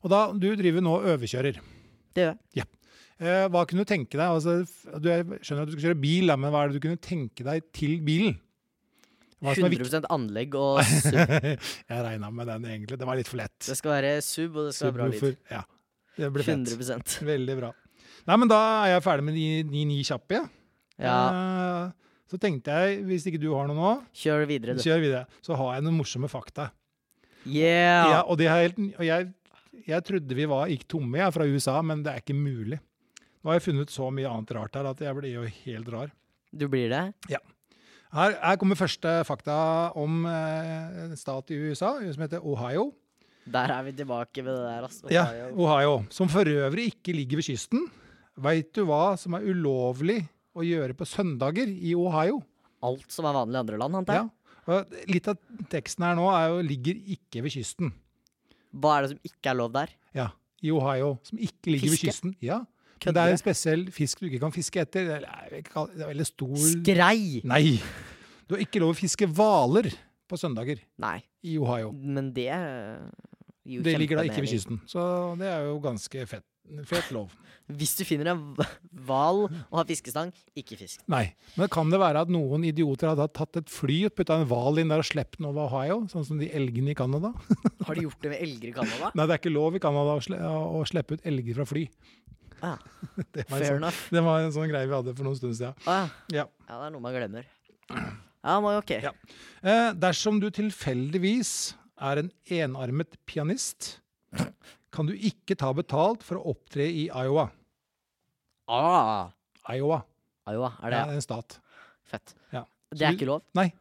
Og da, du driver nå og overkjører. Det gjør jeg. Eh, hva kunne du tenke deg? Altså, f- du, jeg skjønner at du skal kjøre bil, da, men hva er det du kunne tenke deg til bilen? Hva som er viktig? 100 anlegg og sub. jeg regna med den, egentlig. Det var litt for lett. Det skal være sub, og det skal være bra lyd. Subwoofer. Ja. Det blir fett. 100 Veldig bra. Nei, men da er jeg ferdig med de de ni kjappe, jeg. Ja, Eh, Så tenkte jeg, hvis ikke du har noe nå, kjør videre, du. kjør videre. Så har jeg noen morsomme fakta. Ja, Yeah! og det er helt, og jeg, jeg trodde vi var, gikk tomme jeg, fra USA, men det er ikke mulig. Nå har jeg funnet så mye annet rart her at jeg blir jo helt rar. Du blir det? Her, her kommer første fakta om eh, en stat i USA som heter Ohio. Der er vi tilbake ved det der, altså. Ja, Ohio. Som for øvrig ikke ligger ved kysten. Veit du hva som er ulovlig å gjøre på søndager i Ohio? Alt som er vanlig i andre land, antar Ja. jeg. Og litt av teksten her nå er jo 'ligger ikke ved kysten'. Hva er det som ikke er lov der? Ja, I Ohio, som ikke ligger Fiske? ved kysten. Ja. Men det Kødder er en jeg? spesiell fisk du ikke kan fiske etter. Det er, jeg vil ikke kalle- det er veldig stor Skrei! Nei! Du har ikke lov å fiske hvaler på søndager Nei, i Ohio. men det eh, gir jo Det ligger da ikke ved kjempemening. kysten. Så det er jo ganske fett, fet lov. Hvis du finner en hval og har fiskestang, ikke fisk. Nei. Men kan det være at noen idioter har da tatt et fly og putta en hval inn der og sluppet den over Ohio, sånn som de elgene i Canada? Har de gjort det med elger i Canada? Nei, det er ikke lov i Canada å sle- å slippe ut elger fra fly. Ah. Det var en Fair sånn- enough. Det var en sånn greie vi hadde for noen stund siden. Ah, Ja. ja, det er noe man glemmer. Ja, men ok. Ja. Eh, dersom du tilfeldigvis er en enarmet pianist, kan du ikke ta betalt for å opptre i Iowa. Ah, Iowa Iowa, er det det er en stat. fett? Ja. Det er ikke lov? Nei.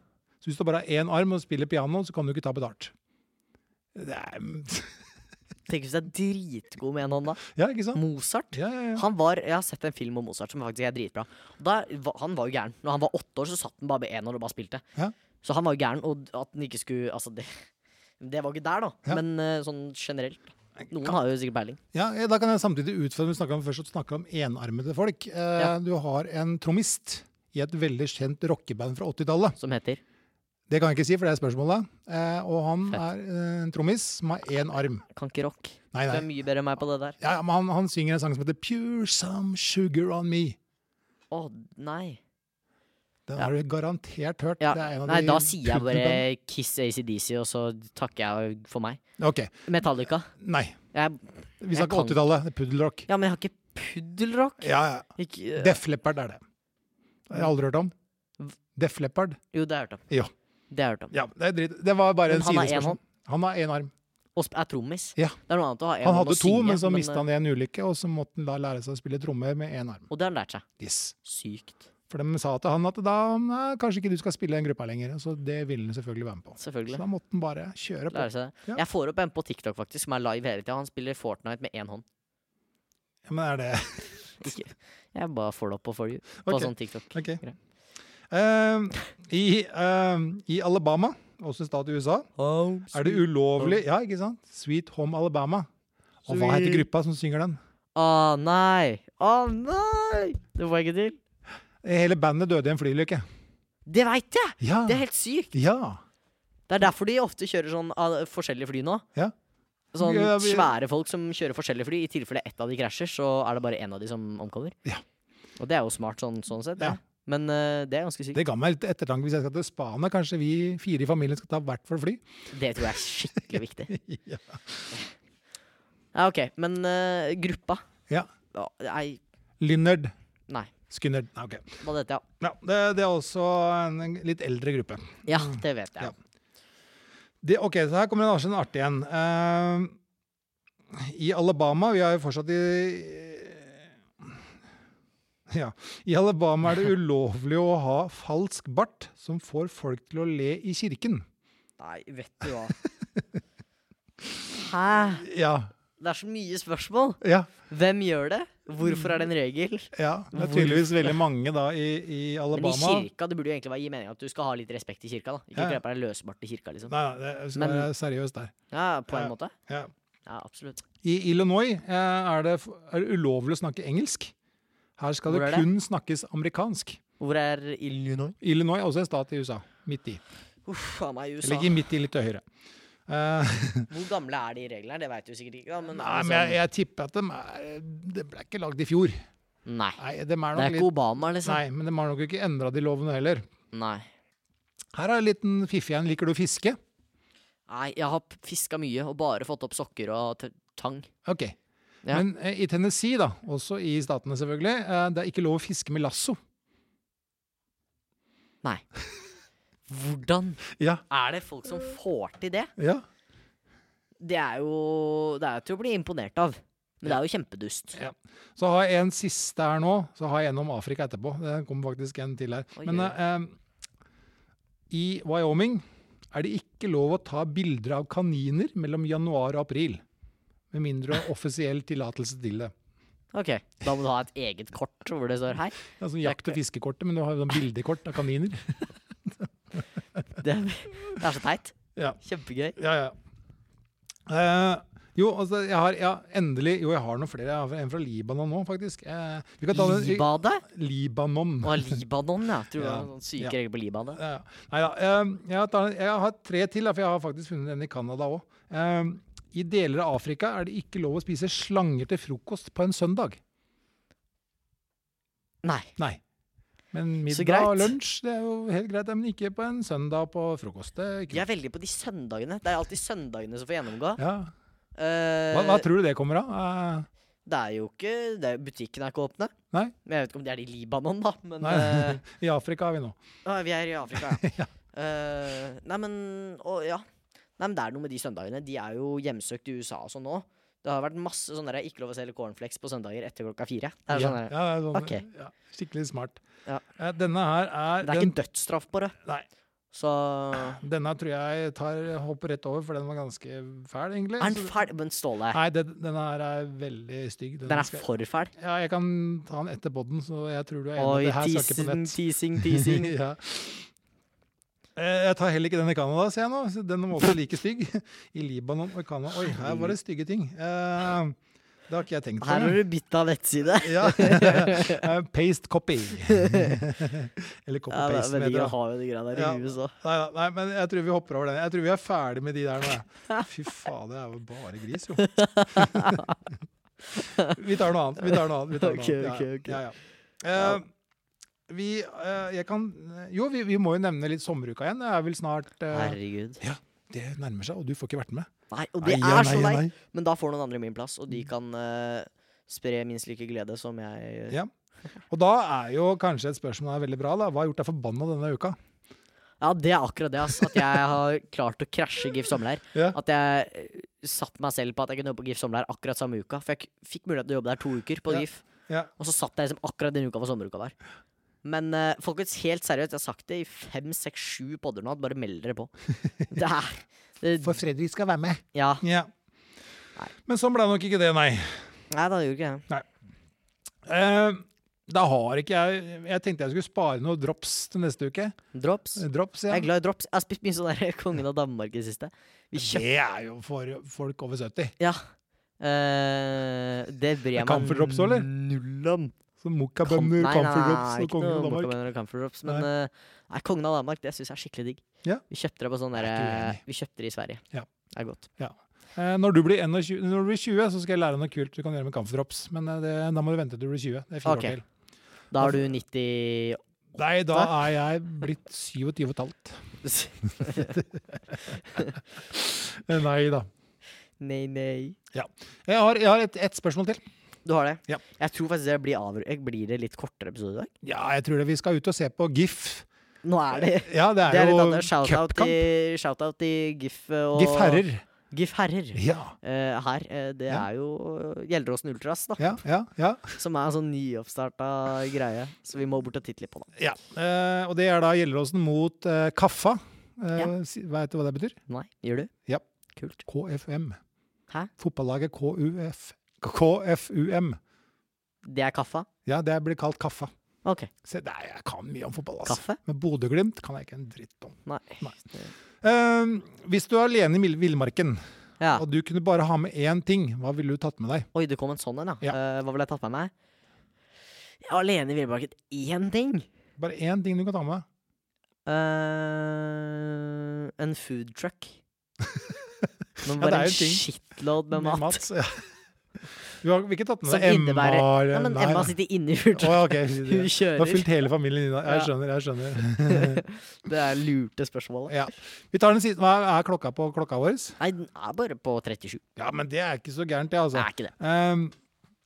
Så hvis du bare har én arm og spiller piano, så kan du ikke ta betalt. Det er, Tenk hvis jeg er dritgod med en hånd, da. ja, ikke sant? Mozart. Ja, ja, ja. Han var, Jeg har sett en film om Mozart som faktisk er dritbra. Og Da, var- han var jo gæren. Når han var åtte år, så satt han bare med én hånd og bare spilte. Ja. Så han var jo gæren, og at han ikke skulle Altså, det, det var ikke der, da. Ja. Men eh, sånn generelt. Noen Kan- har jo sikkert peiling. Ja, eh, da kan jeg samtidig utfordre Vi snakker om først og snakker om enarmede folk. Eh, Ja. Du har en trommist i et veldig kjent rockeband fra 80-tallet. Som heter Det kan jeg ikke si, for det er spørsmålet. Eh, og han Fett. er eh, en trommis som har én arm. Kan ikke rock. Nei, Du nei. er mye bedre enn meg på det der. Ja, ja, men han, han synger en sang som heter 'Pure Some Sugar On Me'. Å, nei. Den Ja. har du garantert hørt. Ja. Det er en av Nei, de da sier jeg punkene. bare Kiss ACDC, og så takker jeg for meg. Ok, Metallica. Nei. Jeg, Vi Jeg kan- snakker 80-tallet. det er Puddelrock. ja, men jeg har ikke puddelrock. Ja, ja. Ikke, Def Leppard er det. Det har jeg aldri hørt om. V- Def Leppard. jo, det har jeg hørt om. Ja. Det har jeg hørt om. Ja, det er dritt. Det var bare Men en han har én sidespørsmål. hånd. Han har én arm. Og sp- er trommis. Ja. Det er noe annet å ha en Han hånd hadde og to, synge, men så men, mista han i en ulykke, og så måtte han da lære seg å spille trommer med én arm. Og det har han lært seg. Yes. Sykt. For de sa til han at da nei, kanskje ikke du skal spille i den gruppa lenger. Så det ville han selvfølgelig være med på. Så Selvfølgelig. da måtte han bare kjøre på. Lære seg det. Ja. Jeg får opp en på TikTok faktisk, som er live hele tida. Han spiller Fortnite med én hånd. Ja, men er det Ikke. Jeg bare får det opp på for you. På Ok. sånn TikTok. Ok. Greit. Ehm, i, ehm, I Alabama, også en stat i USA, er det ulovlig Ja, ikke sant? Sweet Home Alabama. Og hva heter Sweet- gruppa som synger den? Å nei! Å nei! Det får jeg ikke til. Hele bandet døde i en flylykke. Det veit jeg! Ja. Det er helt sykt. ja. Det er derfor de ofte kjører sånn ah, forskjellige fly nå. Ja. Sånn Ja, vi- svære folk som kjører forskjellige fly. I tilfelle ett av de krasjer, så er det bare én av de som omkommer. Ja. Og det er jo smart sånn, sånn sett. Ja. det. Men eh, det er ganske sykt. Det ga meg litt ettertanke hvis jeg skal til Spania. Kanskje vi fire i familien skal ta hvert vårt fly? Det tror jeg er skikkelig viktig. Ja. Ja, ok, men eh, gruppa ja. ja, Nei, Lynnard. nei, Skynnard. Nei, ok. hva dette, ja. Mm. Ja, det, det er også en litt eldre gruppe. Ja, det vet Ja. jeg. Det, ok, så her kommer en annen sånn artig en. Eh, I Alabama Vi er jo fortsatt i ja. I Alabama er det ulovlig å ha falsk bart som får folk til å le i kirken. Nei, vet du hva. Hæ? Ja. Det er så mye spørsmål. Ja. Hvem gjør det? Hvorfor er det en regel? ja. Det er tydeligvis veldig mange da i, i Men i Alabama. kirka, det burde jo egentlig være gi mening at du skal ha litt respekt i kirka. da Ikke Ja, ja. kle på deg løsbart i kirka, liksom. Nei, nei, jeg skal Men- være seriøs der. Ja, på en Ja. måte. Ja. Ja, absolutt. I Illinois eh, er det, f- er det ulovlig å snakke engelsk. Her skal Hvor det er det? kun snakkes amerikansk. Hvor er Illinois? Illinois er også en stat i USA. Midt i. Uff a meg, USA. Eller ikke midt i, litt til høyre. Eh, Hvor gamle er de reglene her? Det veit du sikkert ikke. Da, men, altså, nei, men jeg, jeg tipper at de er Det ble ikke lagd i fjor. nei. Nei, de er nok Det er ikke litt, Obama, liksom. nei, men de har nok ikke endra de lovene heller. Nei. Her er en liten fiffig en. Liker du å fiske? Nei, jeg har fiska mye og bare fått opp sokker og t- tang. Ok. Ja. Men eh, i Tennessee, da, også i statene selvfølgelig, eh, det er ikke lov å fiske med lasso. Nei. Hvordan Ja. er det folk som får til det? Ja. Det er jo Det er jo til å bli imponert av. Men det er jo kjempedust. Ja. Så har jeg en siste her nå, så har jeg en om Afrika etterpå. Det kommer faktisk en til her. Oi, Men oi, eh, i Wyoming er det ikke lov å ta bilder av kaniner mellom januar og april. Med mindre du har offisiell tillatelse til det. Ok, Da må du ha et eget kort hvor det står 'hei'. Det er sånn jakt- og fiskekortet, men du har jo sånn bildekort av kaniner. Det, det er så teit. Ja. Kjempegøy. Ja, ja. Eh, jo, altså, jeg har ja, endelig Jo, jeg har noen flere. Jeg har en fra Libanon nå, faktisk. Eh, vi kan ta den Libadet? Libanon. Å, Libanon, ja. Tror du det Ja, var noen sånn syke ja. regler på Libanon? Ja, ja. Neida, eh, jeg, tar, jeg har tre til, da, for jeg har faktisk funnet en i Canada òg. I deler av Afrika er det ikke lov å spise slanger til frokost på en søndag. Nei. Nei. Men Så middag greit. og lunsj det er jo helt greit, men ikke på en søndag på frokost. Det er Jeg ikke er veldig på de søndagene. Det er alltid søndagene som får gjennomgå. ja. Eh, hva, hva tror du det kommer av? Eh, det er jo ikke det er, Butikkene er ikke åpne. Nei. Men jeg vet ikke om de er i Libanon, da. Men nei, eh, I Afrika er vi nå. ah, vi er i Afrika, ja. Eh, nei, men Å, ja. Nei, men det er noe med de søndagene. De er jo hjemsøkt i USA og sånn nå. Det har vært masse sånne der, ikke lov å selge cornflakes på søndager etter klokka fire. Det er, ja, sånn der- ja, det er sånn, Ok. ja, skikkelig smart. Ja. Eh, denne her er, det er den, ikke dødsstraff på det. Nei. Så Denne tror jeg tar, hopper rett over, for den var ganske fæl, egentlig. er den Så- fæl? Men Ståle, Nei, det, denne her er veldig stygg. Den den er skal- for fæl. ja, jeg kan ta den etter podden, så jeg tror du er enig. Oi, Det her skal ikke på teasing, teasing, nett. teasing. ja. Eh, Jeg tar heller ikke den i Canada, ser jeg nå. så Den var også like stygg. I Libanon og Canada. Oi, her var det stygge ting. Eh, Det har ikke jeg tenkt Her på. har du bytta nettside. Ja. Eh, Paste copy. Eller copy Ja, det er paste. veldig mener gøy jeg. å ha de greiene der i Ja. huet, så. Nei, da, nei, men jeg tror vi hopper over den. Jeg tror vi er ferdig med de der nå. jeg. Fy faen, det er jo bare gris, jo. vi tar noe annet. Vi tar noe annet. Vi tar noe Ok, annet. ok, ok. Ja, ja. Eh, vi, eh, jeg kan, jo, vi, vi må jo nevne litt sommeruka igjen. Det er vel snart eh, Herregud. Det nærmer seg, og du får ikke vært med. Nei, og det Ai, ja, er så nei, ja, leit. nei. Men da får noen andre min plass, og de kan eh, spre minst like glede som jeg gjør. Ja. Og da er jo kanskje et spørsmål her veldig bra. da. Hva har gjort deg forbanna denne uka? Ja, det er akkurat det, ass. At jeg har klart å krasje GIF Sommerleir. Ja. At jeg eh, satt meg selv på at jeg kunne jobbe på GIF Sommerleir akkurat samme uka. For jeg k- fikk mulighet til å jobbe der to uker på Ja. GIF, Ja. og så satt jeg liksom akkurat den uka hvor sommeruka var. Men eh, folkens, helt seriøst, jeg har sagt det i fem, seks, sju podder nå, at bare meld dere på. Det er det, Fredrik skal være med. Ja. Ja. Nei. Men sånn ble nok ikke det, nei. Nei, da gjorde ikke jeg det. Eh, da har ikke jeg Jeg tenkte jeg skulle spare noen drops til neste uke. Drops. Drops, ja. Jeg er glad i drops. Jeg har spist mye sånn der Kongen av Danmark i det siste. Vi kjøpte Det er jo for folk over 70. Ja. Eh, det bryr jeg Er meg Camphor drops også, eller? null om. Så Kom- mokkabønner, nei, nei, nei, camphor drops og ikke kongen noe av Danmark. mokkabønner og Camphor drops. Men eh, nei, kongen av Danmark det syns jeg er skikkelig digg. Ja. Vi kjøpte det på sånn Jeg er derre ikke Vi kjøpte det i Sverige. Ja. Det er godt. Eh, når, du blir 21, når du blir 20, så skal jeg lære noe kult du kan gjøre med camphor drops. Men eh, det, da må du vente til du blir 20. Det er fire Ok. år til. Da Altså har du 90 Nei, da er jeg blitt 27 og et halvt. Eh, Nei da. Nei, nei. Jeg har, jeg har et, et spørsmål til. Du har det? Ja. Jeg tror faktisk det blir, avru- blir det litt kortere episode i dag. Ja, jeg tror det. Vi skal ut og se på GIF. Nå er det Ja, det Det er er litt jo annet. Shout-out cupkamp. til, shout til GIF og Gif herrer. GIF herrer. Ja. eh, her. Eh, det Ja. er jo eh, Gjelderåsen Ultras, da. Ja, ja, ja. Som er en sånn nyoppstarta greie. Så vi må bort og titte litt på den. ja. Eh, og det er da Gjelleråsen mot eh, Kaffa. Eh, Ja. si- Vet du hva det betyr? Nei, gjør du? Ja. Kult. KFUM. Hæ? Fotballaget KUF. KFUM. Det er kaffa? Ja, det blir kalt Kaffa. OK. Se, nei, jeg kan mye om fotball, altså. Kaffe? Men Bodø-Glimt kan jeg ikke en dritt om. Nei. Nei. Eh, hvis du er alene i mil- villmarken, Ja. og du kunne bare ha med én ting, hva ville du tatt med deg? Oi, det kom en sånn en, ja. Ja. Eh, hva ville jeg tatt med meg? Jeg var alene i villmarken. Én ting. Bare én ting du kan ta med deg. Eh, en food truck. Men Ja, det bare er jo en en ting. shitload med mat. Mats, ja. Du har ikke tatt med Som deg Emma? innebærer- eller- Ja, men Nei, Emma nei. sitter inne i food Å, truck. ja, ok. Hun Du har kjører. fylt hele familien inn. Jeg skjønner. jeg skjønner. Det er lurte spørsmålet. ja. Vi tar den siste. Hva er klokka på klokka vår? Nei, den er bare på 37. Ja, men det er ikke så gærent, det, Det altså. er ikke det. Um,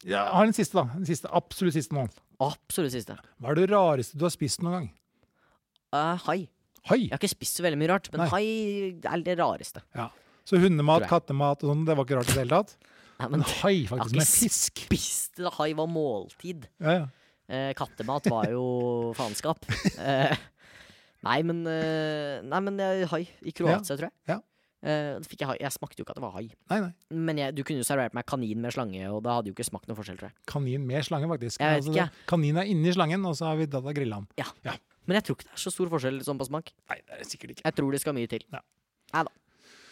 ja, jeg har den siste, da. Den siste, Absolutt siste nå. Absolutt siste. Hva er det rareste du har spist noen gang? Eh, hai. Hai! Jeg har ikke spist så veldig mye rart, men Nei. hai er det rareste. Så hundemat, Tror jeg. kattemat og sånn, det var ikke rart i det hele tatt? Nei, Men men hai, har faktisk, ikke med fisk. spiste da hai var måltid. Ja, ja. Eh, kattemat var jo faenskap. Eh, nei, men eh, Nei, men eh, hai i Kroatia, tror jeg. ja. Eh, da fikk jeg, hai. jeg smakte jo ikke at det var hai. Nei, nei. Men jeg, du kunne jo servert meg kanin med slange, og da hadde jo ikke smakt noe forskjell, tror jeg. Kanin med slange, faktisk. Jeg vet Altså, det- kanin er inni slangen, og så har vi tatt av grilla den. Men jeg tror ikke det er så stor forskjell sånn på smak. Nei, det er det sikkert ikke. Jeg tror det skal mye til. Ja. Nei da.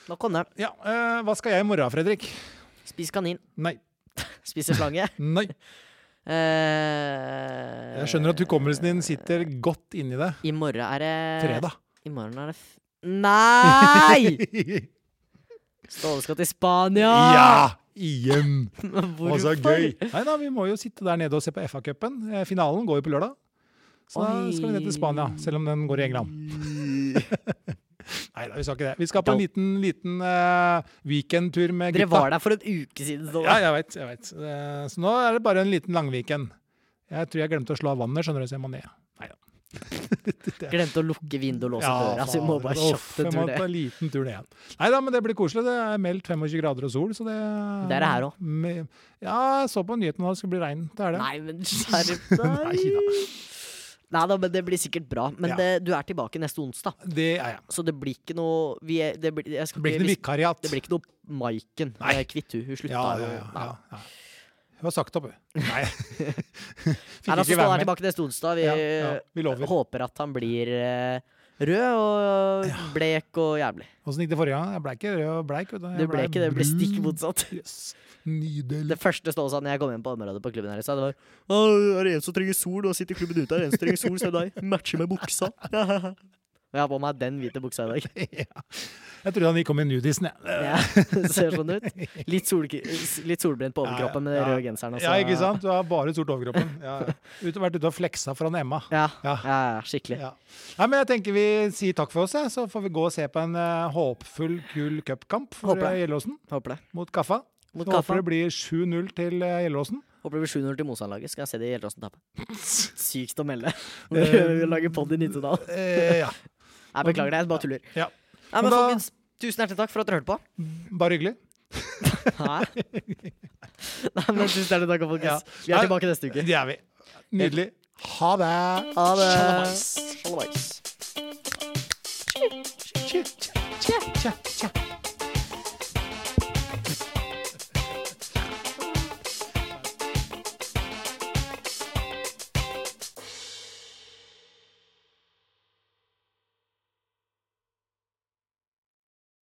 Nå kom den. Ja, eh, Hva skal jeg i morgen, Fredrik? Spis kanin. Nei. Spiser slange. Nei. Eh, Jeg skjønner at hukommelsen din sitter godt inni det. I morgen er det Fredag. I morgen er det f... Nei! Ståle skal til Spania! ja! Igjen! Hvorfor? Og så Altså, gøy! Nei da, vi må jo sitte der nede og se på FA-cupen. Eh, Finalen går jo på lørdag. Så da Oi. skal vi ned til Spania, selv om den går i England. Mm. Nei da, vi skal ikke det. Vi skal på en liten, liten eh, weekendtur med Dere gutta. var der for en uke siden, Ståle. Ja, jeg veit. Jeg vet. Eh, så nå er det bare en liten langweekend. Jeg tror jeg glemte å slå av vannet, skjønner du, så jeg må ned. Nei da. Glemte å lukke vinduet og låse døra, så Altså, vi må fader. bare Uff, kjapt en jeg tur må ta ned. en liten tur ned igjen. Nei da, men det blir koselig. Det er meldt 25 grader og sol, så det Det er det her også. Me- Ja, jeg så på nyhetene at det skulle bli regn. Det er det. Nei, men skjerp deg! Nei da. Nei da, men det blir sikkert bra. Men Ja. det, du er tilbake neste onsdag, Det er jeg. så det blir ikke noe vi er, det, blir, jeg skal Det blir ikke noe hvis- vikariat. det blir ikke noe Maiken. Nei. Jeg er kvitt hun. Hun slutta ja, jo. ja, ja, Nei. ja, ja. Hun har sagt opp, hun. Nei. Nei, Fikk altså, ikke Ståle er være med. tilbake neste onsdag. Vi eh, Ja, ja, vi lover. håper at han blir eh, rød og blek og jævlig. Åssen gikk det forrige gang? Jeg ble ikke rød og bleik. vet du. Jeg Det ble ikke det. Det ble stikk brun. motsatt. Yes. Nydelig. Det første Ståle sa når jeg kom inn på området på klubben her, i stad, det var Å, er det en som trenger sol? Og sitter i klubben ute, er det en som trenger sol? Se deg, matcher med buksa. Og jeg har på meg den hvite buksa i dag. Ja. Jeg trodde han gikk om i nudisen, jeg. Ja, ser sånn ut. Litt, solk- litt solbrent på overkroppen med den Ja, ja. røde genseren. og Ja, så- ikke sant? Du har bare sort overkroppen. Ja, ja. Ut, vært ute og fleksa foran Emma. Ja, Ja. ja, skikkelig. Ja. Nei, men jeg tenker vi sier takk for oss, jeg. så får vi gå og se på en eh, håpfull, kul cupkamp for Håper det. eh, Gjelleråsen Håper det. mot Kaffa. Mot Så Kaffa. Håper det blir 7-0 til eh, Gjelleråsen. Håper det blir 7-0 til Mosanlaget. Skal jeg se det i Gjelleråsen tape. Sykt å melde. Eh, Lage pod i Nittedal. Eh, ja. Jeg beklager det, jeg bare tuller. ja. Nei, men Men da- folkens, tusen hjertelig takk for at dere hørte på. Bare hyggelig. Hæ? Nei, men tusen hjertelig takk, Ja. folkens. Vi er tilbake neste uke. Det er vi. Nydelig. Ha det. Ha det. Shalabais. Shalabais. Tja, tja, tja, tja.